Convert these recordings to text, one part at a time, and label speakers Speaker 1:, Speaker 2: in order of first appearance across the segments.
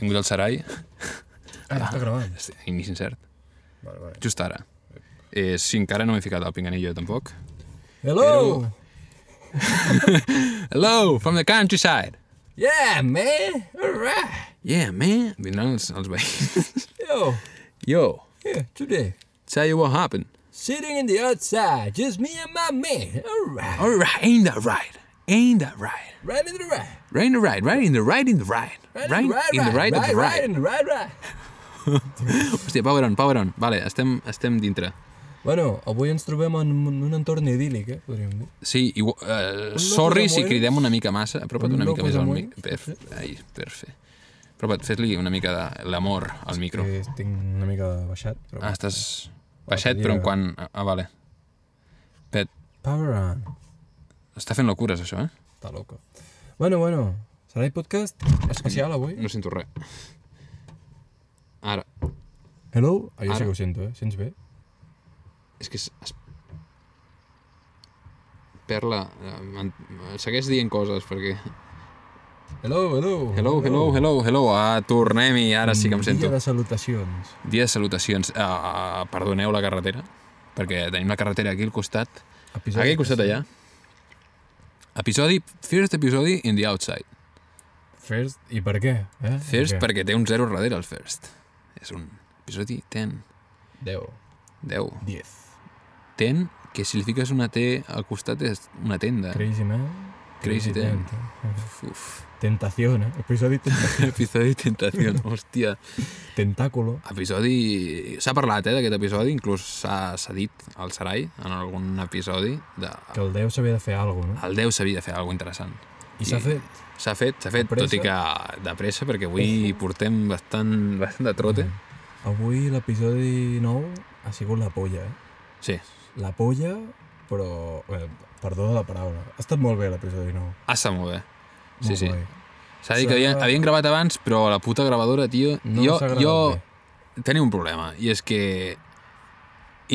Speaker 1: Hem hagut el Sarai,
Speaker 2: Ah, ja està gravant.
Speaker 1: inici incert,
Speaker 2: Vale, vale.
Speaker 1: just ara. Eh, si encara no m'he ficat el pinganillo eh, tampoc.
Speaker 2: Hello!
Speaker 1: Hello, from the countryside!
Speaker 2: Yeah, man! Alright!
Speaker 1: Yeah, man! Vindran els, els veïns.
Speaker 2: Yo,
Speaker 1: Yo,
Speaker 2: yeah, today.
Speaker 1: tell you what happened.
Speaker 2: Sitting in the outside, just me and my man. Alright.
Speaker 1: Alright, ain't that right? Ain't that right?
Speaker 2: Right in the right.
Speaker 1: Right in the right, right in the right, in the right.
Speaker 2: Right,
Speaker 1: Right
Speaker 2: in the right,
Speaker 1: in the right, of the
Speaker 2: right
Speaker 1: right.
Speaker 2: in the right, right.
Speaker 1: Hòstia, power on, power on. Vale, estem, estem dintre.
Speaker 2: Bueno, avui ens trobem en un un entorn idíl·lic, eh, podríem dir.
Speaker 1: Sí, i, uh, sorry si
Speaker 2: Samuel.
Speaker 1: cridem una mica massa. Apropa't
Speaker 2: Un
Speaker 1: una mica
Speaker 2: loco
Speaker 1: més al
Speaker 2: Samuel.
Speaker 1: mic. Per, ai, perfe. Apropa't, fes-li una mica de l'amor al micro.
Speaker 2: Que estic Eh, una mica baixat, però...
Speaker 1: Ah, estàs baixet,
Speaker 2: Bateria.
Speaker 1: però en quan... Ah, ah, vale. Pet,
Speaker 2: Power on.
Speaker 1: està fent locures, això, eh?
Speaker 2: Està loco. Bueno, bueno, serà el podcast especial avui?
Speaker 1: No sento res. Ara.
Speaker 2: Hello? Ah, jo
Speaker 1: Ara.
Speaker 2: sí que ho sento, eh? Sents bé?
Speaker 1: És que... Es, es... Perla, eh, m'en- segueix dient coses, perquè...
Speaker 2: Hello, hello.
Speaker 1: Hello, hello, hello, hello. Ah, tornem-hi, ara sí que em sento.
Speaker 2: Dia de salutacions.
Speaker 1: Dia de salutacions. Ah, ah, perdoneu la carretera, perquè tenim la carretera aquí al costat.
Speaker 2: Episodi.
Speaker 1: Aquí al costat allà. Episodi, first episodi in the outside.
Speaker 2: First, i per què? Eh?
Speaker 1: First
Speaker 2: I què?
Speaker 1: perquè té un zero darrere el first. És un episodi 10,
Speaker 2: 10.
Speaker 1: 10.
Speaker 2: 10.
Speaker 1: 10, que si li fiques una T al costat és una tenda.
Speaker 2: Crazy, man.
Speaker 1: Crazy Tent.
Speaker 2: Tent.
Speaker 1: Uf,
Speaker 2: Tentación, eh? Episodi tenta-
Speaker 1: episodi tentació, hòstia.
Speaker 2: Tentáculo.
Speaker 1: Episodi... S'ha parlat, eh, d'aquest episodi, inclús s'ha s'ha dit al Sarai en algun episodi de...
Speaker 2: Que el 10 s'havia de fer alguna cosa,
Speaker 1: El 10 s'havia de fer alguna interessant.
Speaker 2: no? I s'ha
Speaker 1: I-
Speaker 2: fet.
Speaker 1: S'ha fet, s'ha fet,
Speaker 2: Amb pressa? Oh.
Speaker 1: tot i que de pressa, perquè avui portem bastant, bastant de trote.
Speaker 2: Mm. Avui l'episodi 9 ha sigut la polla, eh?
Speaker 1: Sí.
Speaker 2: La polla, però... Bé, perdó la paraula. Ha estat molt bé l'episodi 9.
Speaker 1: Ah, està molt bé. Sí,
Speaker 2: Molt
Speaker 1: sí.
Speaker 2: guai.
Speaker 1: S'ha dit
Speaker 2: S'ha-
Speaker 1: que havien, havien gravat abans, però la puta gravadora, tio...
Speaker 2: No
Speaker 1: jo,
Speaker 2: ens ha agradat
Speaker 1: jo teniu un problema, i és que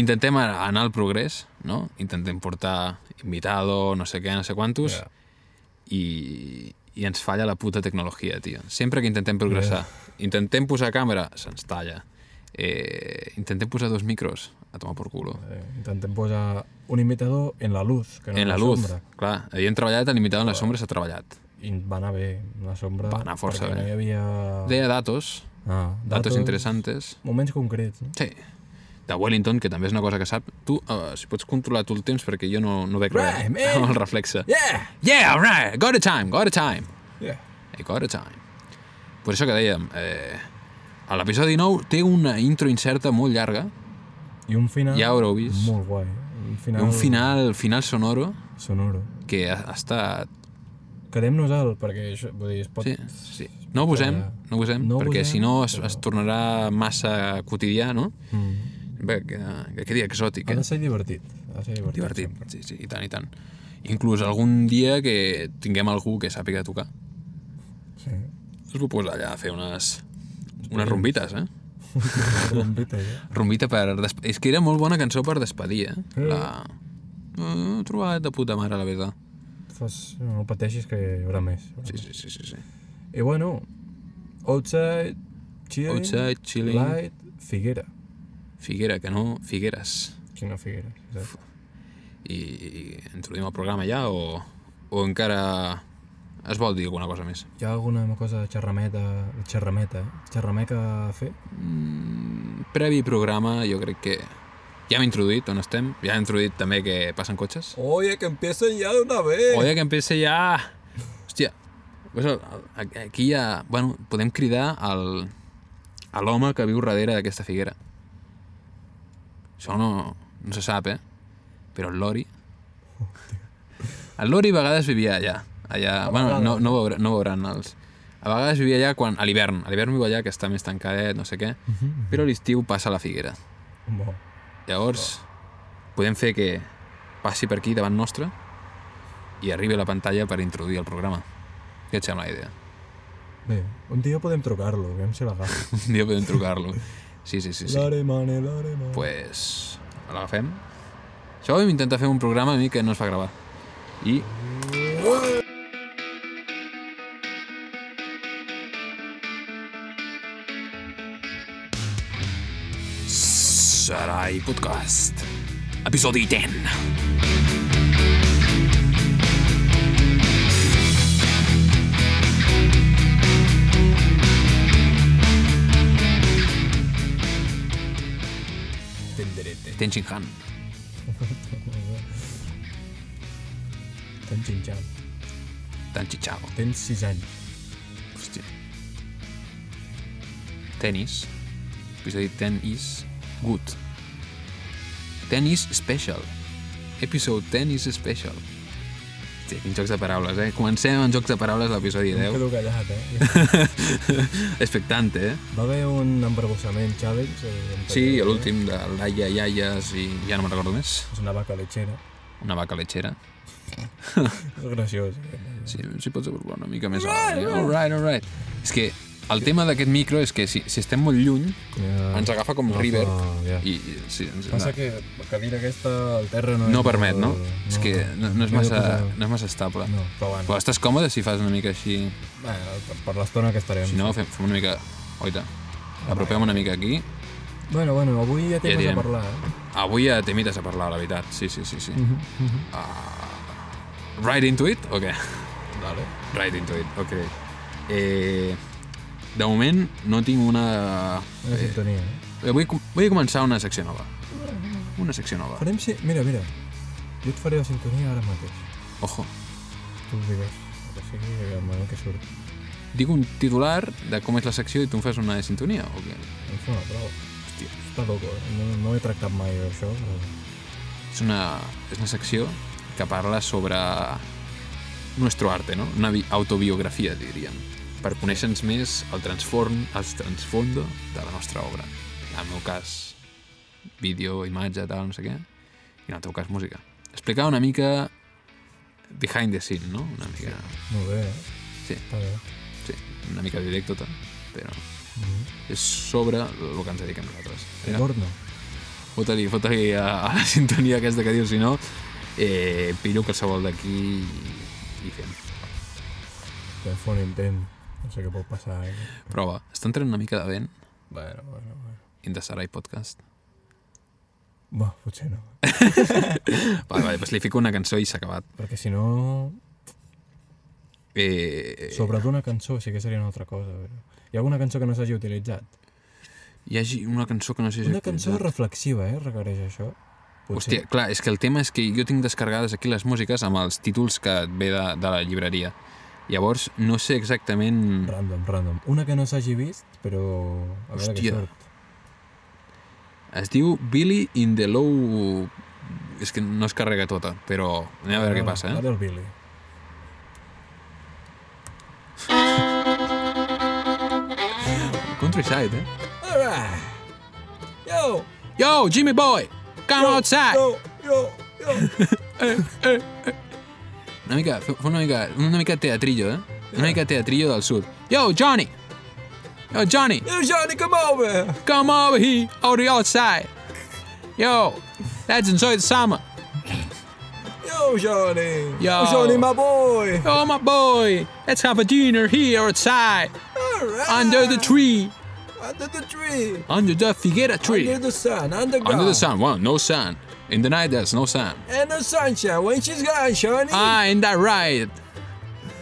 Speaker 1: intentem a- anar al progrés, no? Intentem portar invitado, no sé què, no sé quantos,
Speaker 2: Ja.
Speaker 1: i, i ens falla la puta tecnologia, tio. Sempre que intentem progressar, intentem posar càmera, se'ns talla. Eh, intentem posar dos micros, a tomar por culo.
Speaker 2: Eh, intentem posar un imitador en la luz, que no
Speaker 1: en la
Speaker 2: luz.
Speaker 1: luz,
Speaker 2: sombra.
Speaker 1: clar. Havíem treballat, el limitado en la sombra s'ha treballat.
Speaker 2: I va anar bé, en la sombra.
Speaker 1: Va anar força bé.
Speaker 2: perquè No hi havia...
Speaker 1: Deia datos,
Speaker 2: Ah,
Speaker 1: datos, interessantes.
Speaker 2: Moments concrets, no?
Speaker 1: Sí. De Wellington, que també és una cosa que sap. Tu, uh, si pots controlar tu el temps, perquè jo no, no veig res
Speaker 2: Right, man.
Speaker 1: amb el reflexe.
Speaker 2: Yeah!
Speaker 1: Yeah, right, got a time, got a time.
Speaker 2: Yeah.
Speaker 1: I got a time. Per això que dèiem, eh, a l'episodi 9 té una intro incerta molt llarga,
Speaker 2: I un final
Speaker 1: ja haureu vist,
Speaker 2: molt guai. Un
Speaker 1: i
Speaker 2: final,
Speaker 1: un final, final sonoro
Speaker 2: sonoro.
Speaker 1: que ha, ha estat...
Speaker 2: Quedem-nos al, perquè això, vull dir, es pot...
Speaker 1: Sí, sí. No ho posem, no ho posem,
Speaker 2: No ho
Speaker 1: perquè
Speaker 2: posem,
Speaker 1: si no es, es tornarà massa quotidià, no?
Speaker 2: Mm.
Speaker 1: Bé, que, que quedi exòtic,
Speaker 2: Ha
Speaker 1: eh?
Speaker 2: de ser divertit. Ha de ser divertit.
Speaker 1: Divertit, sí, sí, i tant, i tant. Inclús algun dia que tinguem algú que sàpiga tocar.
Speaker 2: Sí.
Speaker 1: Es va posar allà a fer unes, unes rumbites, eh?
Speaker 2: Rompita, ja.
Speaker 1: Rumbita per... despe- És que era molt bona cançó per despedir, eh?
Speaker 2: Eh.
Speaker 1: La... No, he trobat de puta mare, la veritat.
Speaker 2: Fas, no pateixis que hi haurà més. Hi haurà
Speaker 1: Sí, sí, sí, sí. sí.
Speaker 2: més. I bueno, outside, chilling,
Speaker 1: Outside, chilling,
Speaker 2: light, Figuera.
Speaker 1: Figuera, que no... Figueres.
Speaker 2: Quina Figuera, saps?
Speaker 1: I, i introduïm el programa ja o, o encara es vol dir alguna cosa més?
Speaker 2: Hi ha alguna cosa de xerrameta, de xerrameta, eh? xerrameca a fer?
Speaker 1: Previ programa, jo crec que ja hem introduït on estem, ja hem introduït també que passen cotxes.
Speaker 2: Oye, que empiecen ya de una vez.
Speaker 1: Oye, que empiece ja... Hòstia, pues el, el, aquí hi ha... Bueno, podem cridar al, a l'home que viu darrere d'aquesta figuera. Això no, no se sap, eh? Però el Lori... El Lori a vegades vivia allà. allà bueno, no, no, veure, no veuran els... A vegades vivia allà quan, a l'hivern. A l'hivern viu allà, que està més tancadet, no sé què. Però a l'estiu passa a la figuera.
Speaker 2: Bo.
Speaker 1: Llavors, podem fer que passi per aquí davant nostre i arribi a la pantalla per introduir el programa. Què et sembla la idea?
Speaker 2: Bé, un dia podem trucar-lo, aviam si l'agafa.
Speaker 1: Un dia podem trucar-lo. Sí, sí, sí. sí.
Speaker 2: L'aremane, l'aremane.
Speaker 1: pues, l'agafem. Això vam intentar fer un programa a mi que no es va gravar. I... Sarai Podcast, episodi 10.
Speaker 2: Tenderete.
Speaker 1: Ten Shin Han.
Speaker 2: Tens 5 anys.
Speaker 1: Tan Chichao.
Speaker 2: Tens 6 anys.
Speaker 1: Hòstia. Tenis. Episodi 10 is good. Tenis special. Episode 10 is special. Hòstia, quins jocs de paraules, eh? Comencem amb jocs de paraules l'episodi
Speaker 2: Em
Speaker 1: 10.
Speaker 2: quedo callat, eh?
Speaker 1: Expectante, eh?
Speaker 2: Va haver un embarbussament challenge. eh, anterior,
Speaker 1: Sí,
Speaker 2: eh?
Speaker 1: l'últim de Laia, Iaias i ja no me'n recordo més.
Speaker 2: És una vaca lechera.
Speaker 1: Una vaca lechera.
Speaker 2: És graciós. eh?
Speaker 1: Sí, si pots abordar una mica més. All right, all right. All right. És que el tema d'aquest micro és que si, si estem molt lluny, ens agafa com
Speaker 2: Agafa,
Speaker 1: River
Speaker 2: ja.
Speaker 1: i i- sí, ens,
Speaker 2: Passa que la cadira aquesta, el terra no...
Speaker 1: no
Speaker 2: és
Speaker 1: permet, no?
Speaker 2: molt-
Speaker 1: És que no, no, és
Speaker 2: m'he de
Speaker 1: massa,
Speaker 2: posar-
Speaker 1: no és massa estable.
Speaker 2: No, però bueno.
Speaker 1: Però estàs còmode si fas una mica així?
Speaker 2: Bueno, per- per l'estona que estarem.
Speaker 1: Si no, fem, fem una mica... Oita, apropem una mica aquí.
Speaker 2: Bueno, bueno, avui ja té
Speaker 1: Ja
Speaker 2: ja a
Speaker 1: direm.
Speaker 2: parlar, eh?
Speaker 1: Avui ja t'imites a parlar, la veritat. Sí, sí, sí. sí.
Speaker 2: Mhm,
Speaker 1: Ah, right into it o què?
Speaker 2: Vale.
Speaker 1: Right into it, ok. Eh, de moment no tinc una...
Speaker 2: Una sintonia. eh?
Speaker 1: Eh, Vull, com- vull començar una secció nova. Una secció nova.
Speaker 2: Farem si... Mira, mira. Jo et faré la sintonia ara mateix.
Speaker 1: Ojo.
Speaker 2: Tu em digues. el doncs. Que sigui, i el moment que surt.
Speaker 1: Dic un titular de com és la secció i tu em fas una sintonia o què?
Speaker 2: Em fa una prova.
Speaker 1: Hòstia.
Speaker 2: Està loco, eh? no, no he tractat mai això. Però...
Speaker 1: És una, és una secció que parla sobre nuestro arte, no? Una bi- autobiografia, diríem, per conèixer-nos més el transform, els transfondo de la nostra obra. En el meu cas, vídeo, imatge, tal, no sé què. I en el teu cas, música. Explicar una mica behind the scene, no? Una mica,
Speaker 2: Molt bé, eh?
Speaker 1: Sí.
Speaker 2: Està bé.
Speaker 1: sí, una mica d'anècdota, però
Speaker 2: Mm
Speaker 1: és sobre el que ens dediquem nosaltres.
Speaker 2: -hmm.
Speaker 1: Mira, Fota-li, fota-li a, a la sintonia aquesta que diu, si no, eh, pillo qualsevol d'aquí i, i fem.
Speaker 2: Vam fer un intent. No sé què pot passar, eh?
Speaker 1: Prova. Està entrant una mica de vent
Speaker 2: Bueno, bueno, bueno.
Speaker 1: Inda Sarai Podcast.
Speaker 2: Bah, potser no.
Speaker 1: Vale, vale, doncs li fico una cançó i s'ha acabat.
Speaker 2: Perquè si no...
Speaker 1: Eh,
Speaker 2: Sobre d'una cançó sí que seria una altra cosa. Però... Hi ha alguna cançó que no s'hagi utilitzat?
Speaker 1: hi hagi una cançó que no sé... si
Speaker 2: Una
Speaker 1: he
Speaker 2: cançó
Speaker 1: utilitzat.
Speaker 2: reflexiva, eh? Requereix això.
Speaker 1: Hòstia, clar, és que el tema és que jo tinc descarregades aquí les músiques amb els títols que et ve de, de la llibreria. Llavors, no sé exactament...
Speaker 2: Random, random. Una que no s'hagi vist, però... A veure què
Speaker 1: Hòstia.
Speaker 2: surt.
Speaker 1: Es diu Billy in the Low... És que no es carrega tota, però anem a veure què passa, eh?
Speaker 2: Ara el Billy.
Speaker 1: Countryside, eh?
Speaker 2: Alright. Yo!
Speaker 1: Yo, Jimmy boy, come outside.
Speaker 2: Yo, yo, yo.
Speaker 1: Una mica, fa una mica, una mica teatrillo, eh? Una mica teatrillo del sud. Yo, Johnny. Yo, Johnny,
Speaker 2: Yo, Johnny, come over.
Speaker 1: come over here, on the outside. Yo, let's enjoy the summer.
Speaker 2: Yo, Johnny.
Speaker 1: Yo.
Speaker 2: Johnny, my boy.
Speaker 1: Yo, my boy, let's have a dinner here outside,
Speaker 2: Alright.
Speaker 1: under the tree,
Speaker 2: Under the tree.
Speaker 1: under the figuera tree.
Speaker 2: Under the sun. Underground.
Speaker 1: Under the sun, well, no sun. In the night, there's no sun.
Speaker 2: And the sunshine. When she's gone, Johnny.
Speaker 1: Ah, in that right.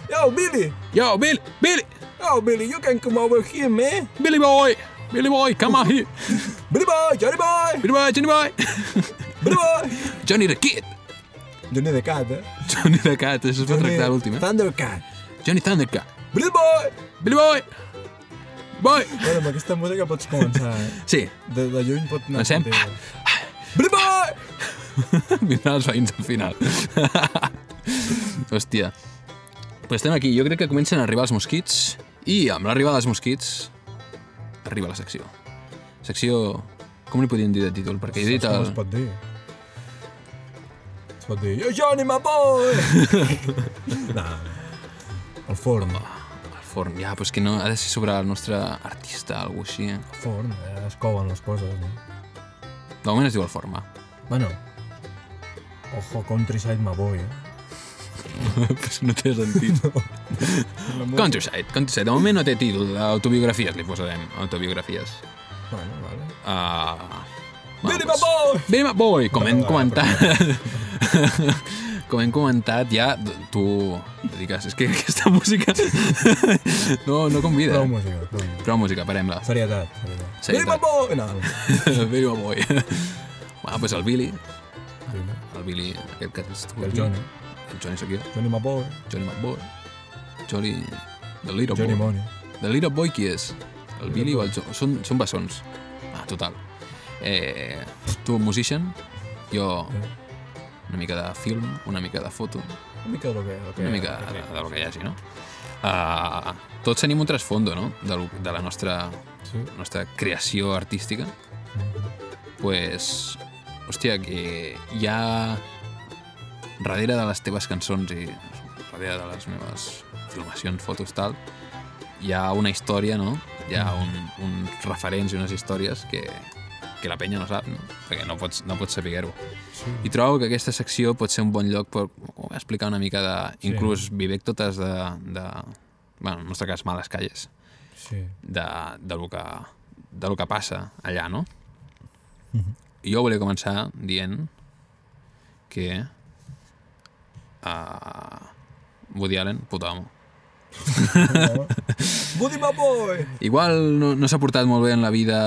Speaker 2: Yo, Billy.
Speaker 1: Yo, Billy, Billy,
Speaker 2: Oh, Billy, you can come over here, man.
Speaker 1: Billy boy, Billy boy, come out here.
Speaker 2: Billy boy, Johnny boy.
Speaker 1: Billy boy, Johnny boy.
Speaker 2: Billy boy.
Speaker 1: Johnny the kid.
Speaker 2: Johnny the cat, eh?
Speaker 1: Johnny the Cat, això es va tractar l'últim, eh?
Speaker 2: Thundercat.
Speaker 1: Johnny Thundercat.
Speaker 2: Billy boy.
Speaker 1: Billy Boy! Boy!
Speaker 2: Bueno, amb aquesta música pots començar, eh?
Speaker 1: Sí,
Speaker 2: De, de lluny pot anar...
Speaker 1: Comencem?
Speaker 2: contigo. Billy boy.
Speaker 1: vindran els veïns al final. Hòstia. Però estem aquí, jo crec que comencen a arribar els mosquits i amb l'arribada dels mosquits arriba la secció. Secció... Com li podíem dir de títol? Perquè he dit
Speaker 2: Saps com
Speaker 1: el...
Speaker 2: es pot dir? Es pot dir, yo Johnny, my boy! nah, el forn, el
Speaker 1: el forn. Ja, però és que no... Ha de ser sobre el nostre artista, alguna cosa així. eh?
Speaker 2: forn, eh, es couen les coses, no?
Speaker 1: De moment es diu el forn, va.
Speaker 2: Bueno, ojo, countryside, my boy, eh?
Speaker 1: Pues no té sentit. Countryside, Countryside. De moment no té títol. Autobiografies li posarem. Autobiografies.
Speaker 2: Bueno, vale.
Speaker 1: Uh,
Speaker 2: Billy my boy!
Speaker 1: Billy McBoy, com hem
Speaker 2: No, no,
Speaker 1: comentat... com hem comentat, ja tu dediques... És que aquesta música no, no convida.
Speaker 2: Prou música, prou música.
Speaker 1: Prou música, parem-la.
Speaker 2: Serietat, serietat.
Speaker 1: Serietat.
Speaker 2: Billy my boy! No, no.
Speaker 1: Billy McBoy. Bueno, doncs el Billy,
Speaker 2: Sí, no.
Speaker 1: el Billy, aquest que és tu.
Speaker 2: El Johnny.
Speaker 1: El Johnny Shakir,
Speaker 2: Johnny my boy.
Speaker 1: Johnny McBoy, Johnny... The Little
Speaker 2: Johnny
Speaker 1: Boy.
Speaker 2: Money.
Speaker 1: The Little Boy qui és? El Billy o el John? Són, són bessons. Ah, total. Eh, tu, musician, jo una mica de film, una mica de foto,
Speaker 2: Una mica de lo que... Lo que
Speaker 1: una mica de, de lo que hi hagi, no? Uh, tots tenim un trasfondo, no?, de, lo- de la nostra,
Speaker 2: Sí.
Speaker 1: nostra creació artística. pues, hòstia, que hi ha darrere de les teves cançons i darrere de les meves filmacions, fotos, tal, hi ha una història, no? Hi ha un, uns referents i unes històries que, que la penya no sap, no? Perquè no pots, no pots saber-ho.
Speaker 2: Sí.
Speaker 1: I trobo que aquesta secció pot ser un bon lloc per explicar una mica de...
Speaker 2: Sí.
Speaker 1: Inclús vivèctotes de... de bueno, en el nostre cas, males calles,
Speaker 2: Sí.
Speaker 1: de, de, lo, que, de lo que passa allà, no? I jo volia començar dient que eh, uh, Woody Allen, puta amo.
Speaker 2: Woody my boy!
Speaker 1: Igual no, no s'ha portat molt bé en la vida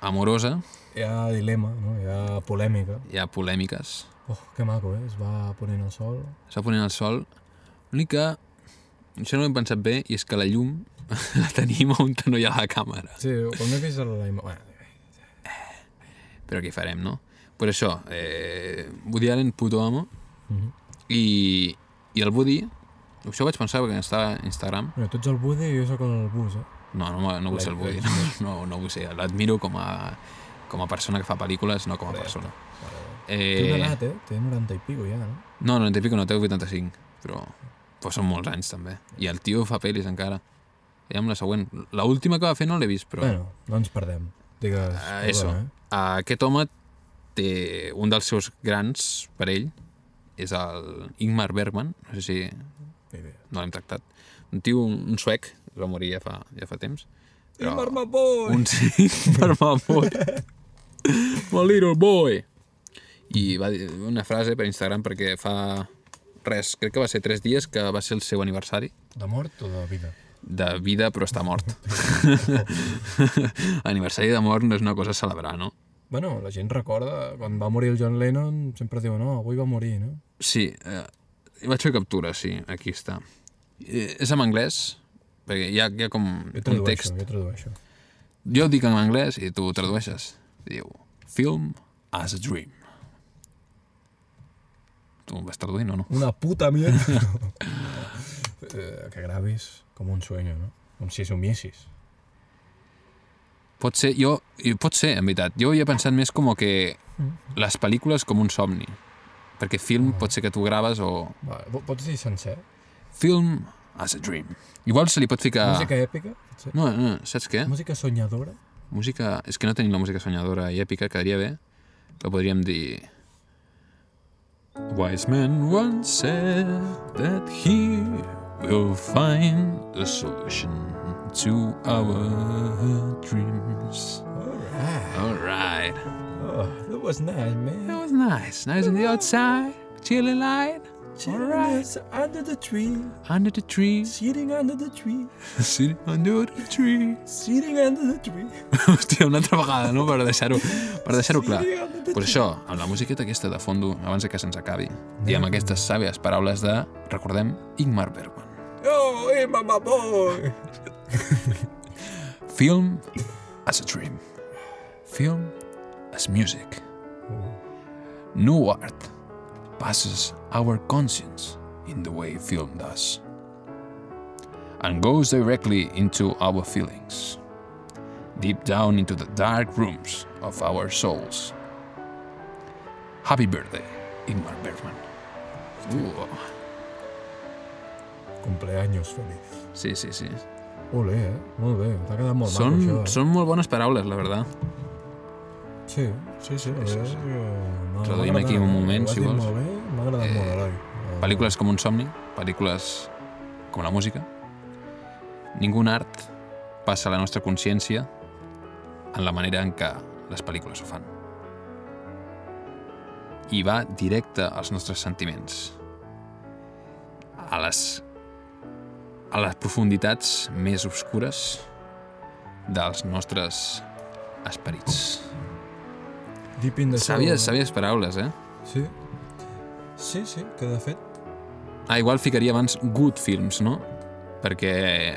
Speaker 1: amorosa,
Speaker 2: Hi ha dilema, no? Hi ha polèmica.
Speaker 1: hi ha polèmiques,
Speaker 2: Oh, que maco, eh? Es va ponent el sol.
Speaker 1: està ponent el sol. L'únic que, això no ho hem pensat bé, i és que la llum la tenim on no hi ha la càmera.
Speaker 2: Sí, quan m'he vist la imatge... Bueno,
Speaker 1: Però què hi farem, no? Per això, eh, Woody Allen, puto amo,
Speaker 2: Mhm.
Speaker 1: i, i el Woody, això ho vaig pensar perquè estava a Instagram,
Speaker 2: mira, tu ets el Woody i jo sóc el bus, eh?
Speaker 1: No, no, me- no vull ser el Woody, no, no, no vull ser. L'admiro com a, com a persona que fa pel·lícules, no com a persona.
Speaker 2: Té una
Speaker 1: Eh,
Speaker 2: edat, eh? Té 90 i pico ja, no?
Speaker 1: no, 90 i pico, no, té 85, però, però són molts anys també. I el tio fa pel·lis encara. Ja amb la següent. L'última que va fer no l'he vist, però...
Speaker 2: Bueno, no ens perdem. Digues,
Speaker 1: Ah, eso.
Speaker 2: perdona, eh?
Speaker 1: Ah, Aquest home té un dels seus grans per ell, és el Ingmar Bergman, no sé si
Speaker 2: Ni idea.
Speaker 1: no l'hem tractat. Un tio, un, un suec, es va morir ja fa, ja fa temps.
Speaker 2: Però... Mar my boy!
Speaker 1: un cinc per Mamoy. My little boy. I va dir una frase per Instagram perquè fa res, crec que va ser tres dies que va ser el seu aniversari
Speaker 2: De mort o de vida?
Speaker 1: de vida però està mort. aniversari de mort no és una cosa a celebrar, no?
Speaker 2: Bueno, la gent recorda, quan va morir el John Lennon, sempre diu, no, avui va morir, no?
Speaker 1: Sí, eh, vaig fer captura, sí, aquí està. Eh, és en anglès, perquè hi ha, hi ha com
Speaker 2: Jo
Speaker 1: un
Speaker 2: tradueixo, eh?
Speaker 1: text.
Speaker 2: jo tradueixo.
Speaker 1: Jo ho dic en anglès i tu ho tradueixes. Diu, film as a dream. Tu ho vas traduint o no?
Speaker 2: Una puta mierda. Eh, que gravis com un sueño, no? Com si somiessis.
Speaker 1: Pot ser, jo, i pot ser, en veritat. Jo havia pensat més com que les pel·lícules com un somni. Perquè film pot ser que tu graves o...
Speaker 2: Va, po- pots dir sencer?
Speaker 1: Film as a dream. Igual se li pot ficar...
Speaker 2: Música èpica, potser?
Speaker 1: No, no, saps què?
Speaker 2: Música soñadora?
Speaker 1: Música... És que no tenim la música soñadora i èpica, quedaria bé. Que podríem dir... Wise men once said that he will find the solution to our dreams.
Speaker 2: Alright.
Speaker 1: All right.
Speaker 2: Oh, that was nice, man.
Speaker 1: That was nice. Nice on the outside, chilly light. All right.
Speaker 2: Chillness under the tree,
Speaker 1: Under the tree,
Speaker 2: sitting under the tree,
Speaker 1: sitting under the tree.
Speaker 2: sitting under the tree.
Speaker 1: Hòstia, una altra vegada, no? Per deixar-ho per deixar clar.
Speaker 2: Sitting under the
Speaker 1: Pues això, amb la musiqueta aquesta de fondo, abans de que se'ns acabi, i amb aquestes sàvies paraules de, recordem, Ingmar Bergman.
Speaker 2: tree. Oh, hey, mama boy!
Speaker 1: Film as a dream. Film as music.
Speaker 2: Oh,
Speaker 1: No art passes our conscience in the way film does and goes directly into our feelings, deep down into the dark rooms of our souls. Happy birthday, Ingmar Bergman. Uh,
Speaker 2: Cumpleaños feliz.
Speaker 1: sí, sí, sí.
Speaker 2: Olé, eh? Molt bé, t'ha quedat molt
Speaker 1: Són,
Speaker 2: maco, això. eh?
Speaker 1: són molt bones paraules, la verdad.
Speaker 2: Sí, sí, sí. eh, sí, sí, sí.
Speaker 1: Traduïm aquí un moment, si vols.
Speaker 2: Molt bé, m'ha agradat eh, molt, Eloi.
Speaker 1: Pel·lícules com un somni, pel·lícules com la música. Ningun art passa a la nostra consciència en la manera en què les pel·lícules ho fan. i va directe als nostres sentiments, a les, a les profunditats més obscures dels nostres esperits.
Speaker 2: Oh, Deep in the soul.
Speaker 1: Sàvies, sàvies paraules, eh?
Speaker 2: Sí. Sí, sí, que de fet...
Speaker 1: Ah, igual ficaria abans Good Films, no? Perquè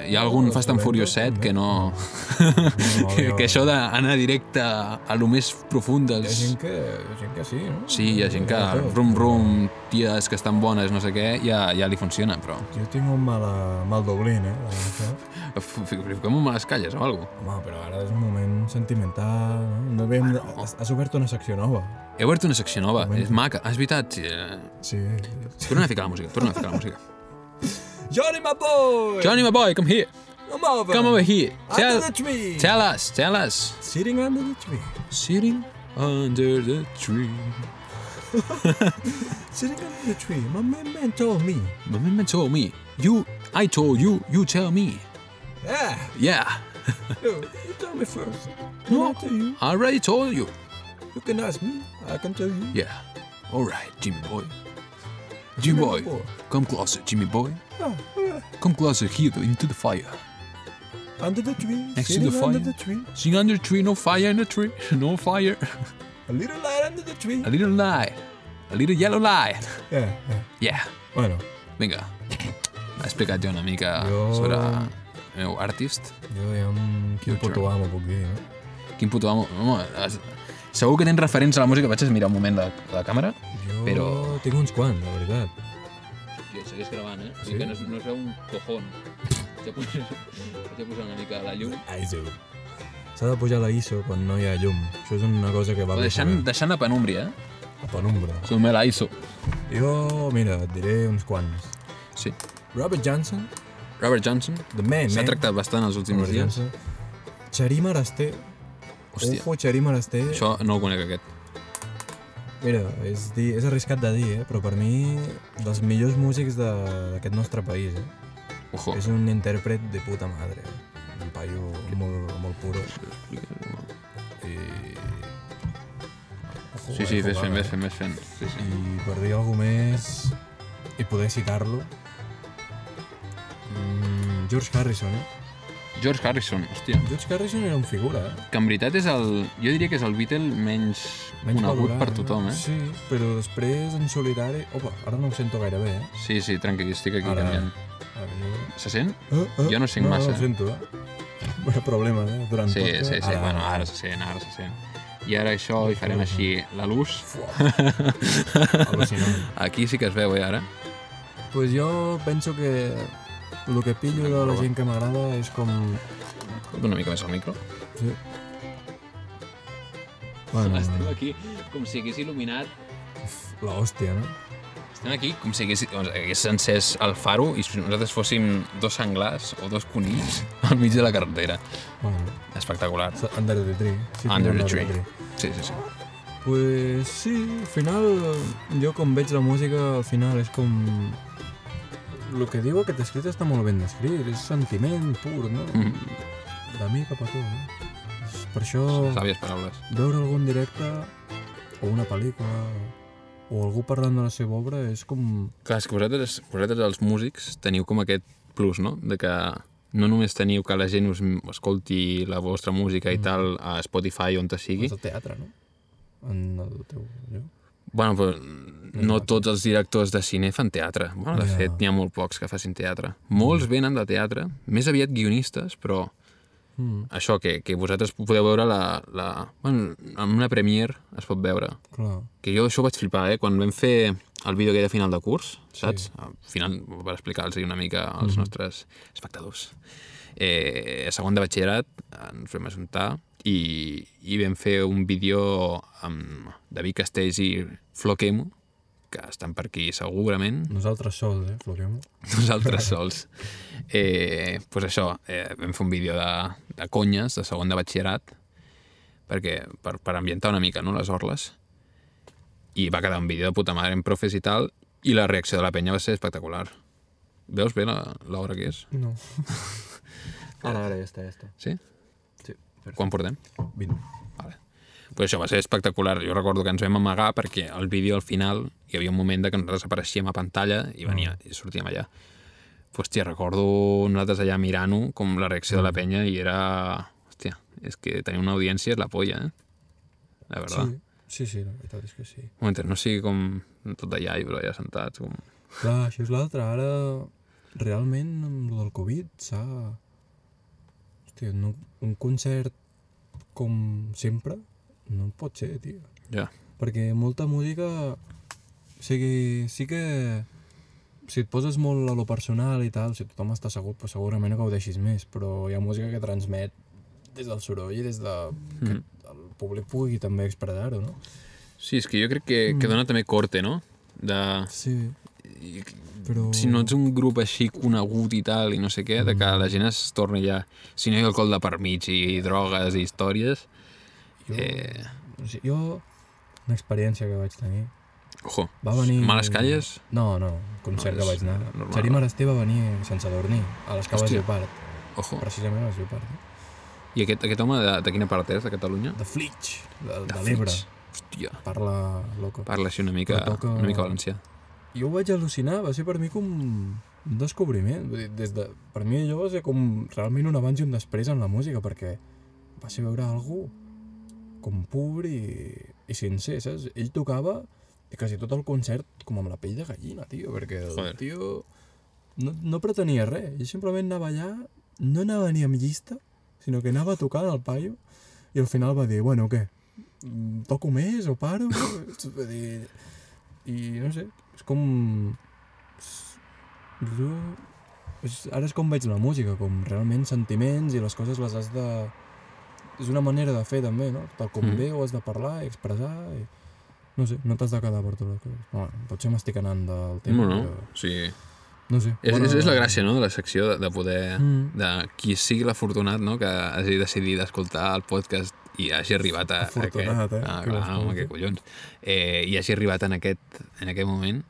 Speaker 1: hi ha algun
Speaker 2: No,
Speaker 1: Fast and
Speaker 2: també,
Speaker 1: Furious 7 que no...
Speaker 2: No,
Speaker 1: que,
Speaker 2: no.
Speaker 1: que això d'anar directe a lo més profund
Speaker 2: Hi ha
Speaker 1: dels...
Speaker 2: gent que, hi ha gent que sí, no?
Speaker 1: Sí, hi ha gent que
Speaker 2: de tot.
Speaker 1: rum rum, ties que estan bones, no sé què, ja, ja li funciona, però...
Speaker 2: Jo tinc un mal, mal doblín, eh? la veritat.
Speaker 1: F- f- Fiquem-ho a les calles o alguna cosa.
Speaker 2: Home, però ara és un moment sentimental, no? no bueno. has, has obert una secció nova.
Speaker 1: He obert una secció nova, és maca, és veritat. sí, eh.
Speaker 2: Sí.
Speaker 1: Torna a ficar la música, torna a ficar la música.
Speaker 2: Johnny, my boy!
Speaker 1: Johnny, my boy, come here,
Speaker 2: Come over!
Speaker 1: come over here. Tell,
Speaker 2: Under the tree!
Speaker 1: tell us, tell us.
Speaker 2: Sitting under the tree.
Speaker 1: Sitting under the tree.
Speaker 2: Sitting under the tree. My man, man told me.
Speaker 1: My man told me, you, I told you, you tell me.
Speaker 2: Yeah,
Speaker 1: Yeah,
Speaker 2: Ah, you, you tell me first. Can I tell you?
Speaker 1: I already told you.
Speaker 2: You can ask me. I can tell you.
Speaker 1: Yeah, all right, Jimmy boy. Jimmy boy,
Speaker 2: boy.
Speaker 1: come closer, Jimmy boy.
Speaker 2: Ah, ah.
Speaker 1: Come closer here into the fire.
Speaker 2: under the tree.
Speaker 1: Next to
Speaker 2: sitting
Speaker 1: the fire.
Speaker 2: under the tree.
Speaker 1: Sing under the tree, no fire in the tree, no fire.
Speaker 2: A little light under the tree.
Speaker 1: A little light, a little yellow light.
Speaker 2: Yeah, yeah.
Speaker 1: Yeah.
Speaker 2: Bueno,
Speaker 1: Vinga, ha explicat jo una mica
Speaker 2: Jo-
Speaker 1: sobre el meu eh, artist.
Speaker 2: jo ja amb quin
Speaker 1: Your turn.
Speaker 2: puto amo puc dir, no?
Speaker 1: Quin puto amo. Home, has- segur que tens referents a la música, vaig a mirar un moment la, la càmera.
Speaker 2: Jo
Speaker 1: Però-
Speaker 2: tinc uns quants, la veritat.
Speaker 1: Hòstia, segueix gravant, eh?
Speaker 2: Sí? que no
Speaker 1: es, no es veu un cojón. Vaig a, posar, vaig a posar una mica la llum.
Speaker 2: ISO. S'ha de pujar la ISO quan no hi ha llum. Això és una cosa que va
Speaker 1: Però deixant, deixant la penúmbria, eh?
Speaker 2: a penumbra.
Speaker 1: Som la ISO.
Speaker 2: Jo, mira, et diré uns quants.
Speaker 1: Sí.
Speaker 2: Robert Johnson,
Speaker 1: Robert Johnson.
Speaker 2: The Man,
Speaker 1: S'ha
Speaker 2: man.
Speaker 1: tractat bastant els últims
Speaker 2: Robert
Speaker 1: dies.
Speaker 2: Johnson. Xerí Marasté.
Speaker 1: Hòstia,
Speaker 2: Ojo, Xerí Marasté.
Speaker 1: això no ho conec aquest.
Speaker 2: Mira, és, dir, és arriscat de dir, eh? però per mi, dels millors músics de- d'aquest nostre país. Eh?
Speaker 1: Ojo.
Speaker 2: És un intèrpret de puta madre. eh? Un paio molt, molt puro. I... Ojo,
Speaker 1: Sí, sí,
Speaker 2: eh,
Speaker 1: ves
Speaker 2: jugada,
Speaker 1: fent,
Speaker 2: eh?
Speaker 1: ves fent, ves fent. Sí, sí.
Speaker 2: I per dir alguna més i poder citar-lo, mm, George Harrison, eh?
Speaker 1: George Harrison, hòstia.
Speaker 2: George Harrison era un figura, eh?
Speaker 1: que en veritat és el... Jo diria que és el Beatle menys, menys conegut
Speaker 2: valorat,
Speaker 1: per tothom, eh?
Speaker 2: Sí, però després en solitari... Opa, ara no ho sento gaire bé, eh?
Speaker 1: Sí, sí, tranqui, estic aquí
Speaker 2: Ara.
Speaker 1: canviant.
Speaker 2: Ara, jo...
Speaker 1: Se sent?
Speaker 2: Eh, eh,
Speaker 1: Jo no sent
Speaker 2: no,
Speaker 1: massa.
Speaker 2: No, ho sento, eh? Bueno, problema, eh? Durant
Speaker 1: Sí,
Speaker 2: tot,
Speaker 1: sí, sí, bueno, ara se sent, ara se sent. I ara això hi farem així la luz.
Speaker 2: Al·lucinant.
Speaker 1: Aquí sí que es veu, eh, ara?
Speaker 2: pues jo penso que el que pillo de la gent que m'agrada és com...
Speaker 1: Una mica més al micro.
Speaker 2: Sí. Bueno,
Speaker 1: aquí com si hagués il·luminat...
Speaker 2: la hòstia, no?
Speaker 1: Estem aquí com si hagués, doncs, hagués encès el faro i si nosaltres fóssim dos senglars o dos conills al mig de la carretera.
Speaker 2: Bueno,
Speaker 1: Espectacular. Sí,
Speaker 2: so- Under the Tree. Sí,
Speaker 1: Under
Speaker 2: tinc
Speaker 1: the Tree. sí, sí.
Speaker 2: Pues sí, al final, jo com veig la música, al final és com... El que diu aquest escrit està molt ben descrit, és sentiment pur, no?
Speaker 1: Mhm.
Speaker 2: De mi cap a tu, no? És Per això,
Speaker 1: Sàvies paraules.
Speaker 2: veure algun directe, o una pel·lícula, o algú parlant de la seva obra, és com...
Speaker 1: Clar, és que vosaltres, vosaltres els músics teniu com aquest plus, no? De que no només teniu que la gent us m- escolti la vostra música i tal a Spotify on te sigui.
Speaker 2: És el teatre, no? En el teu lloc.
Speaker 1: Bueno, però no tots els directors de cine fan teatre. Bueno, de
Speaker 2: Ja.
Speaker 1: fet, n'hi ha molt pocs que facin teatre. Molts venen de teatre, més aviat guionistes, però
Speaker 2: Mm,
Speaker 1: això, que, que vosaltres podeu veure la, la... Bueno, en una premiere es pot veure.
Speaker 2: clar.
Speaker 1: Que jo això ho vaig flipar, eh? Quan vam fer el vídeo aquell de final de curs, saps? Al final, per explicar-los una mica als nostres espectadors. Eh, a segon de batxillerat eh, ens vam ajuntar i, i vam fer un vídeo amb David Castells i Flo Kemo, que estan per aquí segurament,
Speaker 2: Nosaltres sols, eh, floquem.
Speaker 1: nosaltres sols. Eh, pues això, eh, vam fer un vídeo de, de conyes, de segon de batxillerat, perquè, per, per ambientar una mica no, les orles, i va quedar un vídeo de puta mare en profes i tal, i la reacció de la penya va ser espectacular. Veus bé la- l'hora que és?
Speaker 2: No. ara, ara, ja està, ja està.
Speaker 1: Sí?
Speaker 2: Sí,
Speaker 1: Quan portem?
Speaker 2: 20.
Speaker 1: Vale. Però això va ser espectacular. Jo recordo que ens vam amagar perquè el vídeo al final hi havia un moment de que nosaltres apareixíem a pantalla i venia i sortíem allà. Hòstia, recordo nosaltres allà mirant-ho com la reacció de la penya i era... Hòstia, és que tenir una audiència és la polla, eh? La
Speaker 2: Sí,
Speaker 1: veritat. Sí.
Speaker 2: sí, sí, la veritat és que sí.
Speaker 1: Mentre no sigui com tot allà i però allà sentats, com...
Speaker 2: Clar, això és l'altre. Ara, realment, amb el del Covid, s'ha... Hòstia, no, un concert com sempre no pot ser, tio.
Speaker 1: Ja,
Speaker 2: Perquè molta música... O sigui, sí que... Si et poses molt a lo personal i tal, si tothom està assegut, pues segurament ho gaudeixis més, però hi ha música que transmet des del soroll i des de...
Speaker 1: Mm.
Speaker 2: que el públic pugui també expressar-ho, no?
Speaker 1: Sí, és que jo crec que, que dona també corte, no? De...
Speaker 2: Sí,
Speaker 1: i-
Speaker 2: però... Mm.
Speaker 1: Si no ets un grup així conegut i tal, i no sé què, de que la gent es torni ja... Si no hi ha alcohol de per mig i drogues i històries...
Speaker 2: Jo-
Speaker 1: Eh,
Speaker 2: O sigui, jo, una experiència que vaig tenir,
Speaker 1: ojo,
Speaker 2: va venir...
Speaker 1: males calles...
Speaker 2: No, no, un concert
Speaker 1: No,
Speaker 2: que
Speaker 1: és
Speaker 2: vaig anar.
Speaker 1: normal.
Speaker 2: Xarí Marasté va venir sense dormir, a les caves
Speaker 1: Hòstia.
Speaker 2: Lleopard,
Speaker 1: Ojo.
Speaker 2: precisament a les Lleopard. eh?
Speaker 1: I aquest, aquest home de, de quina part és, de Catalunya?
Speaker 2: De Flitch, de, de l'Ebre.
Speaker 1: Flix. Hòstia,
Speaker 2: Parla loco.
Speaker 1: parla així una mica,
Speaker 2: Però toca-
Speaker 1: una mica valencià.
Speaker 2: Jo ho vaig al·lucinar, va ser per mi com un descobriment. Vull dir, des de, per mi allò va ser com realment un abans i un després en la música, perquè va ser veure algú com pur i, i sincer, saps? Ell tocava i quasi tot el concert com amb la pell de gallina, tio, perquè el
Speaker 1: Joder.
Speaker 2: tio no, no pretenia res. Ell simplement anava allà, no anava ni amb llista, sinó que anava tocant el paio i al final va dir, bueno, què? Mm, Toco més o paro? Vull dir, i no sé, és com... és- Jo... És, ara és com veig la música, com realment sentiments i les coses les has de... És una manera de fer també, no? Tal com
Speaker 1: Mm.
Speaker 2: mm. ve ho has de parlar i expressar i... No sé, no t'has de quedar per totes les coses. Bueno, potser m'estic anant del
Speaker 1: No,
Speaker 2: tema,
Speaker 1: no,
Speaker 2: però...
Speaker 1: sí.
Speaker 2: No sé.
Speaker 1: És, és, és la gràcia, no?, de la secció, de, de poder...
Speaker 2: Mm.
Speaker 1: De qui sigui l'afortunat, no?, que hagi decidit escoltar el podcast i hagi arribat a... a
Speaker 2: Afortunat,
Speaker 1: aquest,
Speaker 2: eh?
Speaker 1: Ah,
Speaker 2: Que
Speaker 1: clar,
Speaker 2: l'escolti.
Speaker 1: home, que collons. Eh, I hagi arribat en aquest, en aquest moment,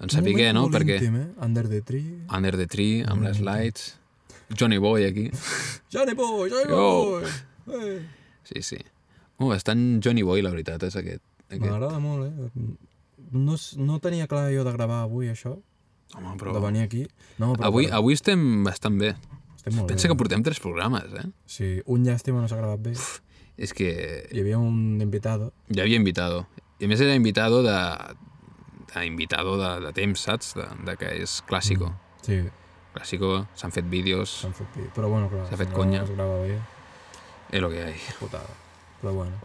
Speaker 1: doncs
Speaker 2: Un
Speaker 1: saber
Speaker 2: moment
Speaker 1: què, no?,
Speaker 2: molt
Speaker 1: perquè...
Speaker 2: Íntim, eh? Under the tree...
Speaker 1: Under the Tree, amb les lights... Johnny Boy, aquí.
Speaker 2: Johnny Boy, Johnny
Speaker 1: Yo!
Speaker 2: Boy! Eh.
Speaker 1: Sí, sí. Oh, bastant Johnny Boy, la veritat, és aquest. aquest.
Speaker 2: M'agrada molt, eh? No, s- no tenia clar jo de gravar avui això,
Speaker 1: Home,
Speaker 2: però...
Speaker 1: però...
Speaker 2: de venir aquí. No, però
Speaker 1: Avui,
Speaker 2: però
Speaker 1: avui estem bastant bé.
Speaker 2: estem molt
Speaker 1: Pensa
Speaker 2: bé.
Speaker 1: que portem tres programes, eh?
Speaker 2: Sí, un llàstima no s'ha gravat bé.
Speaker 1: És que
Speaker 2: Hi havia un invitado.
Speaker 1: ja havia invitado. I a més era invitado de, de invitado de, de temps, saps? De, de que és clàssico. Mm.
Speaker 2: Sí,
Speaker 1: Clàssico, s'han fet vídeos,
Speaker 2: s'han fet pi. Però bueno, clar,
Speaker 1: S'ha fet
Speaker 2: si
Speaker 1: conya.
Speaker 2: No es grava bé,
Speaker 1: és el que hi ha.
Speaker 2: putada. Però bueno,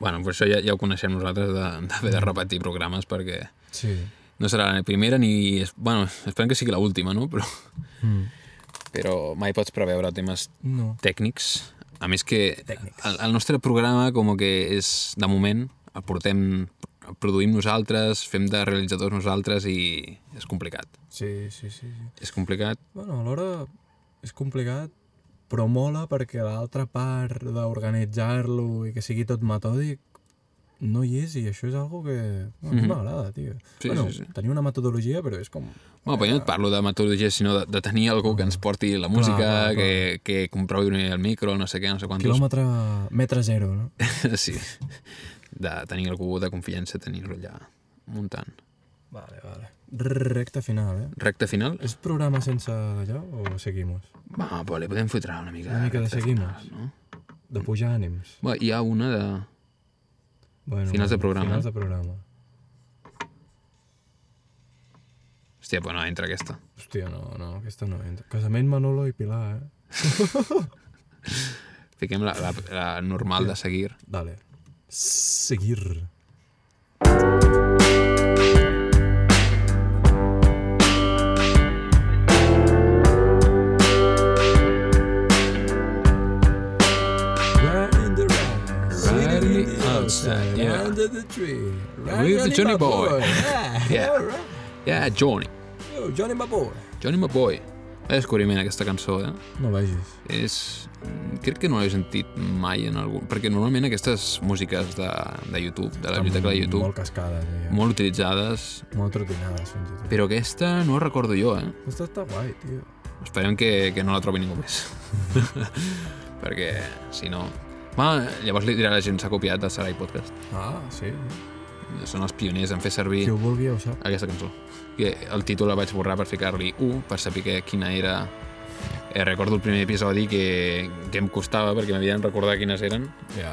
Speaker 1: Bueno, per això ja, ja ho coneixem nosaltres d'haver de, de repetir programes perquè
Speaker 2: sí.
Speaker 1: no serà la primera ni... es- Bueno, esperem que sigui l'última, no? Però,
Speaker 2: Mm.
Speaker 1: però mai pots preveure temes
Speaker 2: No.
Speaker 1: tècnics. A més que
Speaker 2: Tècnics.
Speaker 1: el, el nostre programa com que és, de moment, el portem, el produïm nosaltres, fem de realitzadors nosaltres i és complicat.
Speaker 2: Sí, sí, sí. sí.
Speaker 1: És complicat.
Speaker 2: Bueno, alhora és complicat, però mola perquè l'altra part d'organitzar-lo i que sigui tot metòdic no hi és i això és algo que no, mm -hmm. m'agrada, tio.
Speaker 1: Mhm. Sí,
Speaker 2: bueno,
Speaker 1: sí, sí.
Speaker 2: tenir una metodologia, però és com...
Speaker 1: Bueno, però jo no et parlo de metodologia, sinó de, de tenir algú que ens porti la música,
Speaker 2: Mm. clar, clar.
Speaker 1: que, que comprovi el micro, no sé què, no sé quantos...
Speaker 2: Quilòmetre... metre zero, no?
Speaker 1: sí. De tenir algú de confiança, tenir-lo allà muntant.
Speaker 2: Vale, vale. Recte final, eh?
Speaker 1: Recte final?
Speaker 2: És programa sense allò o seguimos?
Speaker 1: Va, però li podem fotre una mica.
Speaker 2: Una mica de
Speaker 1: recte
Speaker 2: seguimos.
Speaker 1: final, No?
Speaker 2: De pujar ànims.
Speaker 1: Va, hi ha una de...
Speaker 2: Bueno,
Speaker 1: Finals de programa,
Speaker 2: Finals
Speaker 1: eh?
Speaker 2: de programa.
Speaker 1: Hòstia, però no entra aquesta.
Speaker 2: Hòstia, no, no, aquesta no entra. Casament Manolo i Pilar, eh?
Speaker 1: Fiquem la, la, la normal de seguir.
Speaker 2: Dale. Seguir. Right in the round, sitting in the outside,
Speaker 1: yeah.
Speaker 2: under the tree. Right,
Speaker 1: With the Johnny
Speaker 2: my
Speaker 1: boy.
Speaker 2: Yeah,
Speaker 1: Yeah.
Speaker 2: all right.
Speaker 1: Yeah, Johnny.
Speaker 2: Yo, Johnny, my boy.
Speaker 1: Johnny McBoy. Va descobriment aquesta cançó, eh?
Speaker 2: No vagis.
Speaker 1: És... mm, Crec que no l'he sentit mai en algun... Perquè normalment aquestes músiques de, de YouTube, de la biblioteca de YouTube,
Speaker 2: Molt cascades, ja.
Speaker 1: molt utilitzades,
Speaker 2: Molt trotinades, fins i tot.
Speaker 1: però aquesta no la recordo jo, eh?
Speaker 2: Aquesta està guai, tio.
Speaker 1: Esperem que, que no la trobi ningú més. Perquè, si no... Va, llavors li dirà a la gent s'ha copiat de Sarai Podcast.
Speaker 2: Ah, sí.
Speaker 1: Són els pioners en fer servir
Speaker 2: Qui ho vulgui ho sap.
Speaker 1: aquesta cançó. Que el títol la vaig borrar per ficar-li 1 per saber que, quina era... Eh, recordo el primer episodi que, que em costava perquè m'havien recordat quines eren.
Speaker 2: Ja.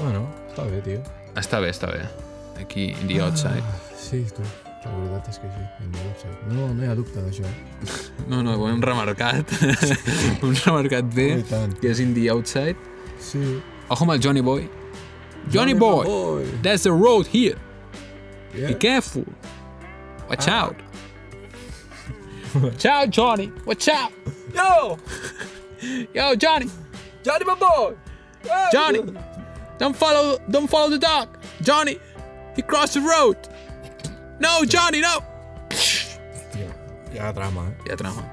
Speaker 2: Bueno, està bé, tio.
Speaker 1: Està bé, està bé. Aquí, in the outside.
Speaker 2: Ah, sí, tu. La veritat és que sí, in the outside. No, no hi ha dubte d'això.
Speaker 1: No, no, ho hem remarcat. ho hem remarcat bé,
Speaker 2: Oh, i tant.
Speaker 1: que és in the outside.
Speaker 2: Sí.
Speaker 1: Ojo amb el Oh Johnny Boy. Johnny, Boy,
Speaker 2: Boy!
Speaker 1: that's the road here.
Speaker 2: Yeah.
Speaker 1: Be careful. Watch
Speaker 2: Ah.
Speaker 1: out. Watch out, Johnny. Watch out.
Speaker 2: Yo!
Speaker 1: Yo, Johnny.
Speaker 2: Johnny, my boy!
Speaker 1: Johnny. Don't follow don't follow the dog. Johnny. He crossed the road. No, Johnny, no.
Speaker 2: Hòstia, hi ha drama, eh?
Speaker 1: Ja trama.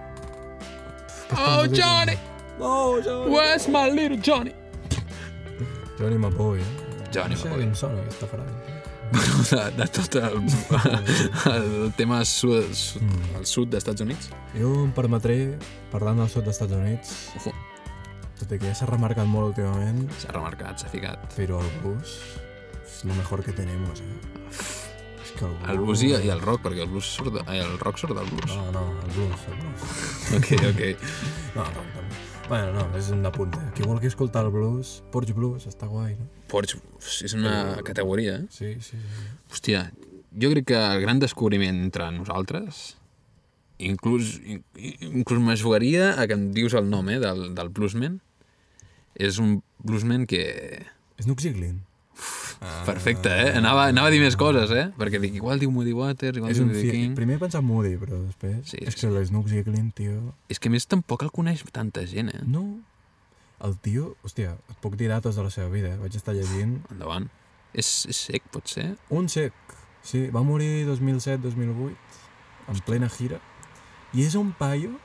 Speaker 1: Oh, Johnny.
Speaker 2: No, Johnny!
Speaker 1: Where's my little Johnny?
Speaker 2: Johnny, my boy, eh?
Speaker 1: Johnny,
Speaker 2: No eh, sé què em sona aquesta frase.
Speaker 1: de, de tot el, el tema sud, sud, al sud d'Estats Units.
Speaker 2: Jo em permetré, parlant del sud dels Estats Units,
Speaker 1: Ojo,
Speaker 2: tot i que ja s'ha remarcat molt últimament,
Speaker 1: s'ha remarcat, s'ha ficat.
Speaker 2: però el bus és lo mejor que tenemos, eh? És que el bus...
Speaker 1: El blues i, i el rock, perquè el, blues surt, de- eh, el rock surt del blues.
Speaker 2: No, no, el blues, el blues.
Speaker 1: Ok, ok.
Speaker 2: No, no, també. Bueno, no, és un apunt. Eh? Qui vulgui escoltar el blues, Porch Blues, està guai, no?
Speaker 1: Porch és una categoria, eh?
Speaker 2: Sí, sí, sí.
Speaker 1: Hòstia, jo crec que el gran descobriment entre nosaltres, inclús, in- inclús me jugaria a que em dius el nom eh, del, del bluesman, és un bluesman que...
Speaker 2: És Nuc Ziglin.
Speaker 1: Perfecte, eh? Anava, anava a dir més coses, eh? Perquè dic, igual diu Moody Waters, igual
Speaker 2: És
Speaker 1: diu
Speaker 2: un
Speaker 1: Moody
Speaker 2: fi...
Speaker 1: King...
Speaker 2: Primer he pensat Moody, però després...
Speaker 1: Sí,
Speaker 2: Sí, és
Speaker 1: sí.
Speaker 2: que l'Snook Ziglin, tio...
Speaker 1: És que a més tampoc el coneix tanta gent, eh?
Speaker 2: No. El tio... Hòstia, et puc dir dates de la seva vida, eh? Vaig estar llegint...
Speaker 1: Endavant. És, és sec, potser?
Speaker 2: Un sec. Sí, va morir 2007-2008, en plena gira. I és un paio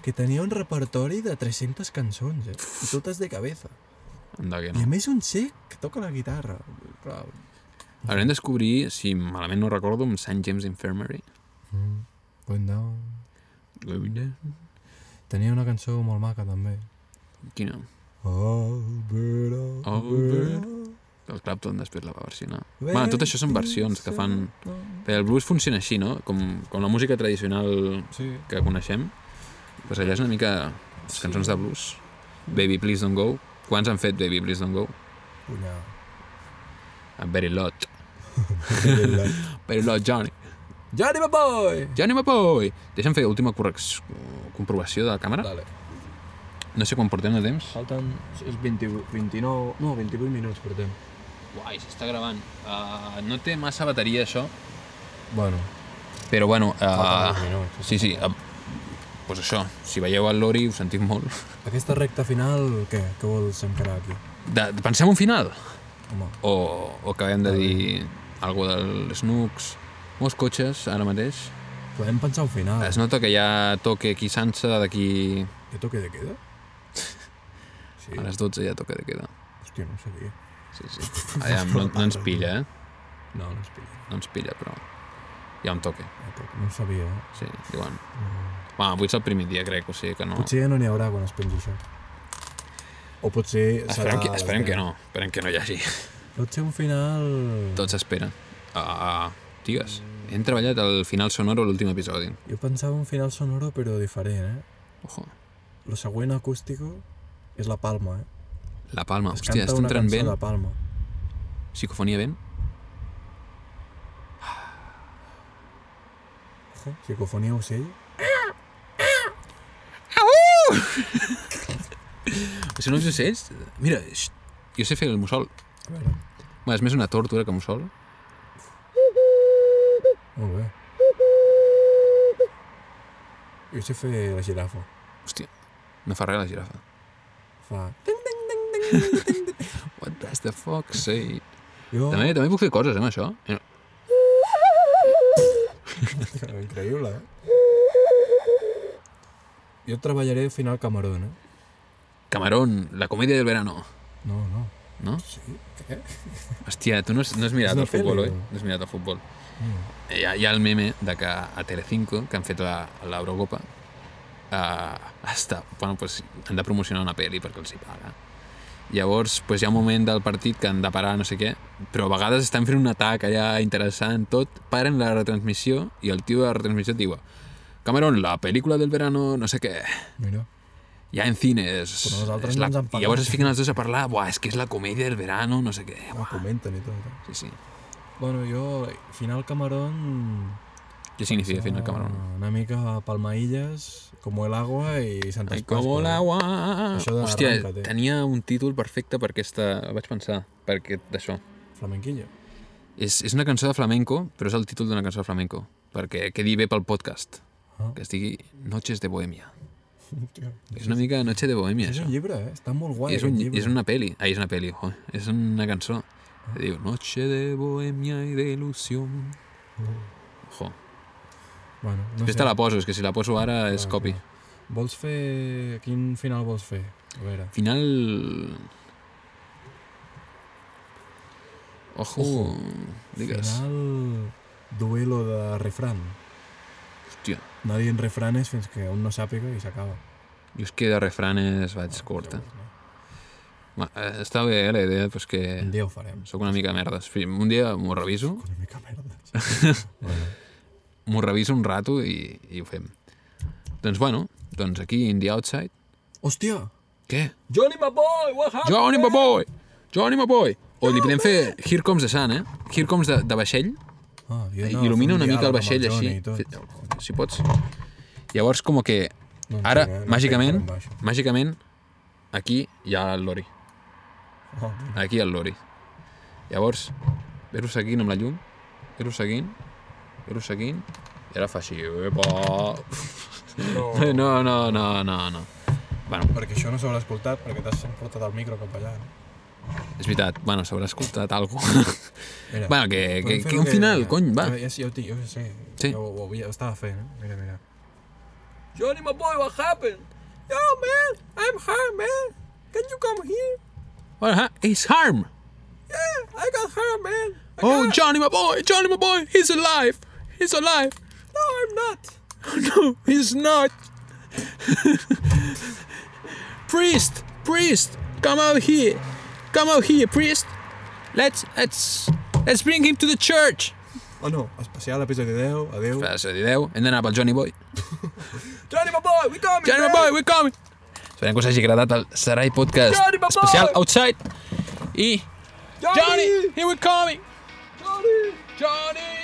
Speaker 2: que tenia un repertori de 300 cançons, eh? I totes de cabeza.
Speaker 1: Anda que
Speaker 2: I a
Speaker 1: no.
Speaker 2: més un sec que toca la guitarra. Clar.
Speaker 1: Haurem de descobrir, si malament no recordo, amb St. James Infirmary.
Speaker 2: Mm. Going down. Tenia una cançó molt maca, també.
Speaker 1: Quina?
Speaker 2: Alberta,
Speaker 1: Alberta. El Clapton després la va versionar. Bueno, tot això són versions que fan... Bé, el blues funciona així, no? Com, com la música tradicional
Speaker 2: Sí.
Speaker 1: que coneixem. Doncs allà és una mica les cançons de blues. Baby, please don't go. Quants han fet Baby, please don't go?
Speaker 2: Punyal.
Speaker 1: A very lot. Very lot, Johnny.
Speaker 2: Johnny, my boy!
Speaker 1: Johnny, my boy! Deixa'm fer última correx... comprovació de la càmera.
Speaker 2: Vale.
Speaker 1: No sé quan portem de temps.
Speaker 2: Falten... És 28, 29... No, 28 minuts portem.
Speaker 1: Guai, s'està gravant. Uh, no té massa bateria, això.
Speaker 2: Bueno,
Speaker 1: Però bueno,
Speaker 2: Falten uns
Speaker 1: uh,
Speaker 2: minuts,
Speaker 1: sí, sí. Uh, pues això, si veieu el Lori ho sentim molt.
Speaker 2: aquesta recta final, què? Què vols encarar aquí?
Speaker 1: De, de pensem un final?
Speaker 2: Home,
Speaker 1: O, o acabem de dir algo dels Snooks? Molts cotxes, ara mateix.
Speaker 2: podem pensar un final.
Speaker 1: Es nota que ja toque aquí Sansa, d'aquí
Speaker 2: Que toque de queda? Sí,
Speaker 1: a les 12 ja toca de queda.
Speaker 2: hòstia, no ho sabia.
Speaker 1: Sí, sí. Allà, no, no ens pilla, eh?
Speaker 2: No, no es pilla.
Speaker 1: No ens pilla, però hi ha un toque.
Speaker 2: No ho sabia, eh?
Speaker 1: Sí, diuen.
Speaker 2: No.
Speaker 1: Va, avui és el primer dia, crec, o sigui que no...
Speaker 2: Potser ja no n'hi haurà quan es pengi això. O potser serà...
Speaker 1: Esperem que, esperem que no, esperem que no hi hagi.
Speaker 2: Pot ser un final...
Speaker 1: Tot s'espera. Ah, digues, hem treballat el final sonoro a l'últim episodi.
Speaker 2: Jo pensava un final sonoro però diferent, eh?
Speaker 1: Ojo,
Speaker 2: Lo següent acústico és La Palma, eh?
Speaker 1: La Palma,
Speaker 2: Es
Speaker 1: hòstia,
Speaker 2: canta
Speaker 1: està
Speaker 2: una
Speaker 1: entrant
Speaker 2: cançó
Speaker 1: vent,
Speaker 2: de Palma.
Speaker 1: psicofonia vent.
Speaker 2: Ojo, psicofonia ocell.
Speaker 1: Si no us ocells, mira, xt, jo sé fer el mussol.
Speaker 2: A veure,
Speaker 1: Bé, és més una tórtora que un mussol.
Speaker 2: molt bé. Jo sé fer la girafa.
Speaker 1: Hòstia, no fa res la girafa.
Speaker 2: Fa...
Speaker 1: What does the fuck say?
Speaker 2: Jo...
Speaker 1: També, també puc fer coses, eh, amb això. Mira,
Speaker 2: Increïble, eh? Jo treballaré final Camerón, eh?
Speaker 1: Camarón, la comèdia del verano.
Speaker 2: No, no.
Speaker 1: No?
Speaker 2: Sí? Què?
Speaker 1: Hòstia, tu no has, no has mirat
Speaker 2: És una
Speaker 1: el futbol, oi?
Speaker 2: pel·li, Mm. o?
Speaker 1: No has mirat el futbol. Eh, Hi ha, hi ha el meme de que a Telecinco, que han fet la- l'Eurocopa, eh, està, bueno, pues, han de promocionar una pel·li perquè els hi paga. Llavors, pues, hi ha un moment del partit que han de parar, no sé què, però a vegades estan fent un atac allà interessant, tot, paren la retransmissió i el tio de la retransmissió et diu Cameron, la pel·lícula del verano, no sé què,
Speaker 2: Mira.
Speaker 1: ja en cines...
Speaker 2: Però nosaltres
Speaker 1: és
Speaker 2: no
Speaker 1: la...
Speaker 2: ens han
Speaker 1: I
Speaker 2: pagat.
Speaker 1: llavors es fiquen els dos a parlar, buah, és que és la comèdia del verano, no sé què,
Speaker 2: Ho
Speaker 1: buah.
Speaker 2: comenten i tot. eh?
Speaker 1: Sí, sí.
Speaker 2: Bueno, jo, final Camarón...
Speaker 1: Què significa fer el Cameron?
Speaker 2: Ah, Una mica palmailles, como el agua i Santes
Speaker 1: Ai, com l'agua...
Speaker 2: Això de
Speaker 1: Hòstia,
Speaker 2: arranca-te.
Speaker 1: tenia un títol perfecte per aquesta... Vaig pensar, per aquest d'això.
Speaker 2: Flamenquillo.
Speaker 1: És, és una cançó de flamenco, però és el títol d'una cançó de flamenco, perquè quedi bé pel podcast,
Speaker 2: Ah.
Speaker 1: que es digui Noches de Bohemia.
Speaker 2: Hòstia.
Speaker 1: És una mica Noche de Bohemia,
Speaker 2: És
Speaker 1: això.
Speaker 2: un llibre, eh? Està molt guai,
Speaker 1: I és, un,
Speaker 2: aquest
Speaker 1: lli-
Speaker 2: llibre.
Speaker 1: és una peli. Ai, és una peli, jo. És una cançó. Que diu Noche de Bohemia y de ilusión. Jo.
Speaker 2: Bueno, no
Speaker 1: Després
Speaker 2: Mm. sé. Ah,
Speaker 1: te la poso, és que si la poso ara és
Speaker 2: Clar,
Speaker 1: copy.
Speaker 2: clar. Vols fer... Quin final vols fer? A veure.
Speaker 1: Final... Ojo,
Speaker 2: Ojo.
Speaker 1: digues.
Speaker 2: Final... Duelo de refrán.
Speaker 1: Hòstia,
Speaker 2: No dient refranes fins que un no sàpiga i s'acaba.
Speaker 1: jo és que de refranes vaig corta.
Speaker 2: Llavors,
Speaker 1: Ma, eh, està bé, eh, la idea, però és que
Speaker 2: no? Un dia ho farem.
Speaker 1: sóc una mica merda. En fi, Un dia m'ho reviso,
Speaker 2: Una mica merdes. bueno,
Speaker 1: m'ho reviso un rato i, i ho fem. Doncs bueno, doncs aquí in the outside.
Speaker 2: Hòstia!
Speaker 1: Què?
Speaker 2: Johnny, my boy! What happened?
Speaker 1: Johnny, my boy! Johnny, my boy! O li podem fer Here Comes the Sun, eh? Here Comes de, de vaixell.
Speaker 2: Ah,
Speaker 1: No,
Speaker 2: jo anava
Speaker 1: Il·lumina
Speaker 2: a fer
Speaker 1: una mica el
Speaker 2: diàleg amb
Speaker 1: vaixell
Speaker 2: Johnny
Speaker 1: així.
Speaker 2: i tot.
Speaker 1: Fe- Si pots. Llavors, com que
Speaker 2: No entenc,
Speaker 1: ara,
Speaker 2: eh? No entenc
Speaker 1: màgicament,
Speaker 2: per on va això.
Speaker 1: màgicament, aquí hi ha el lori.
Speaker 2: Ah, bueno.
Speaker 1: Aquí hi ha el lori. Llavors, ve-ho seguint amb la llum, ve-ho seguint, ve-ho seguint, i ara fa així... Epa!
Speaker 2: No,
Speaker 1: No, no, no, no, no. Bueno,
Speaker 2: perquè això no s'haurà escoltat, perquè t'has portat el micro cap allà. No?
Speaker 1: és veritat, bueno, s'haurà escoltat alguna
Speaker 2: Mira,
Speaker 1: Bueno, que, Eh, que,
Speaker 2: podem fer Ah,
Speaker 1: que
Speaker 2: el
Speaker 1: un final, cony, va.
Speaker 2: Ja, ja, ja, ho tinc, jo ja sé,
Speaker 1: Sí.
Speaker 2: jo, ho, ho, ho estava fent, eh? mira, mira. Johnny, my boy, what happened? Yo, man, I'm hurt, man. Can you come here?
Speaker 1: Well, huh? It's harm.
Speaker 2: Yeah, I got hurt, man. I
Speaker 1: Oh,
Speaker 2: got...
Speaker 1: Johnny, my boy, Johnny, my boy, he's alive. He's alive.
Speaker 2: No, I'm not.
Speaker 1: No, he's not. priest, priest, come out here. Come out here, priest. Let's let's let's bring him to the church.
Speaker 2: Oh, no, especial episodi 10, adeu.
Speaker 1: Espera, de 10, hem d'anar pel Johnny Boy.
Speaker 2: Johnny, my boy, we coming,
Speaker 1: Johnny
Speaker 2: man.
Speaker 1: Boy, we coming! Esperem que us hagi agradat el Sarai Podcast
Speaker 2: Johnny, my boy!
Speaker 1: especial Outside i
Speaker 2: Johnny!
Speaker 1: Johnny, here we coming!
Speaker 2: Johnny!
Speaker 1: Johnny!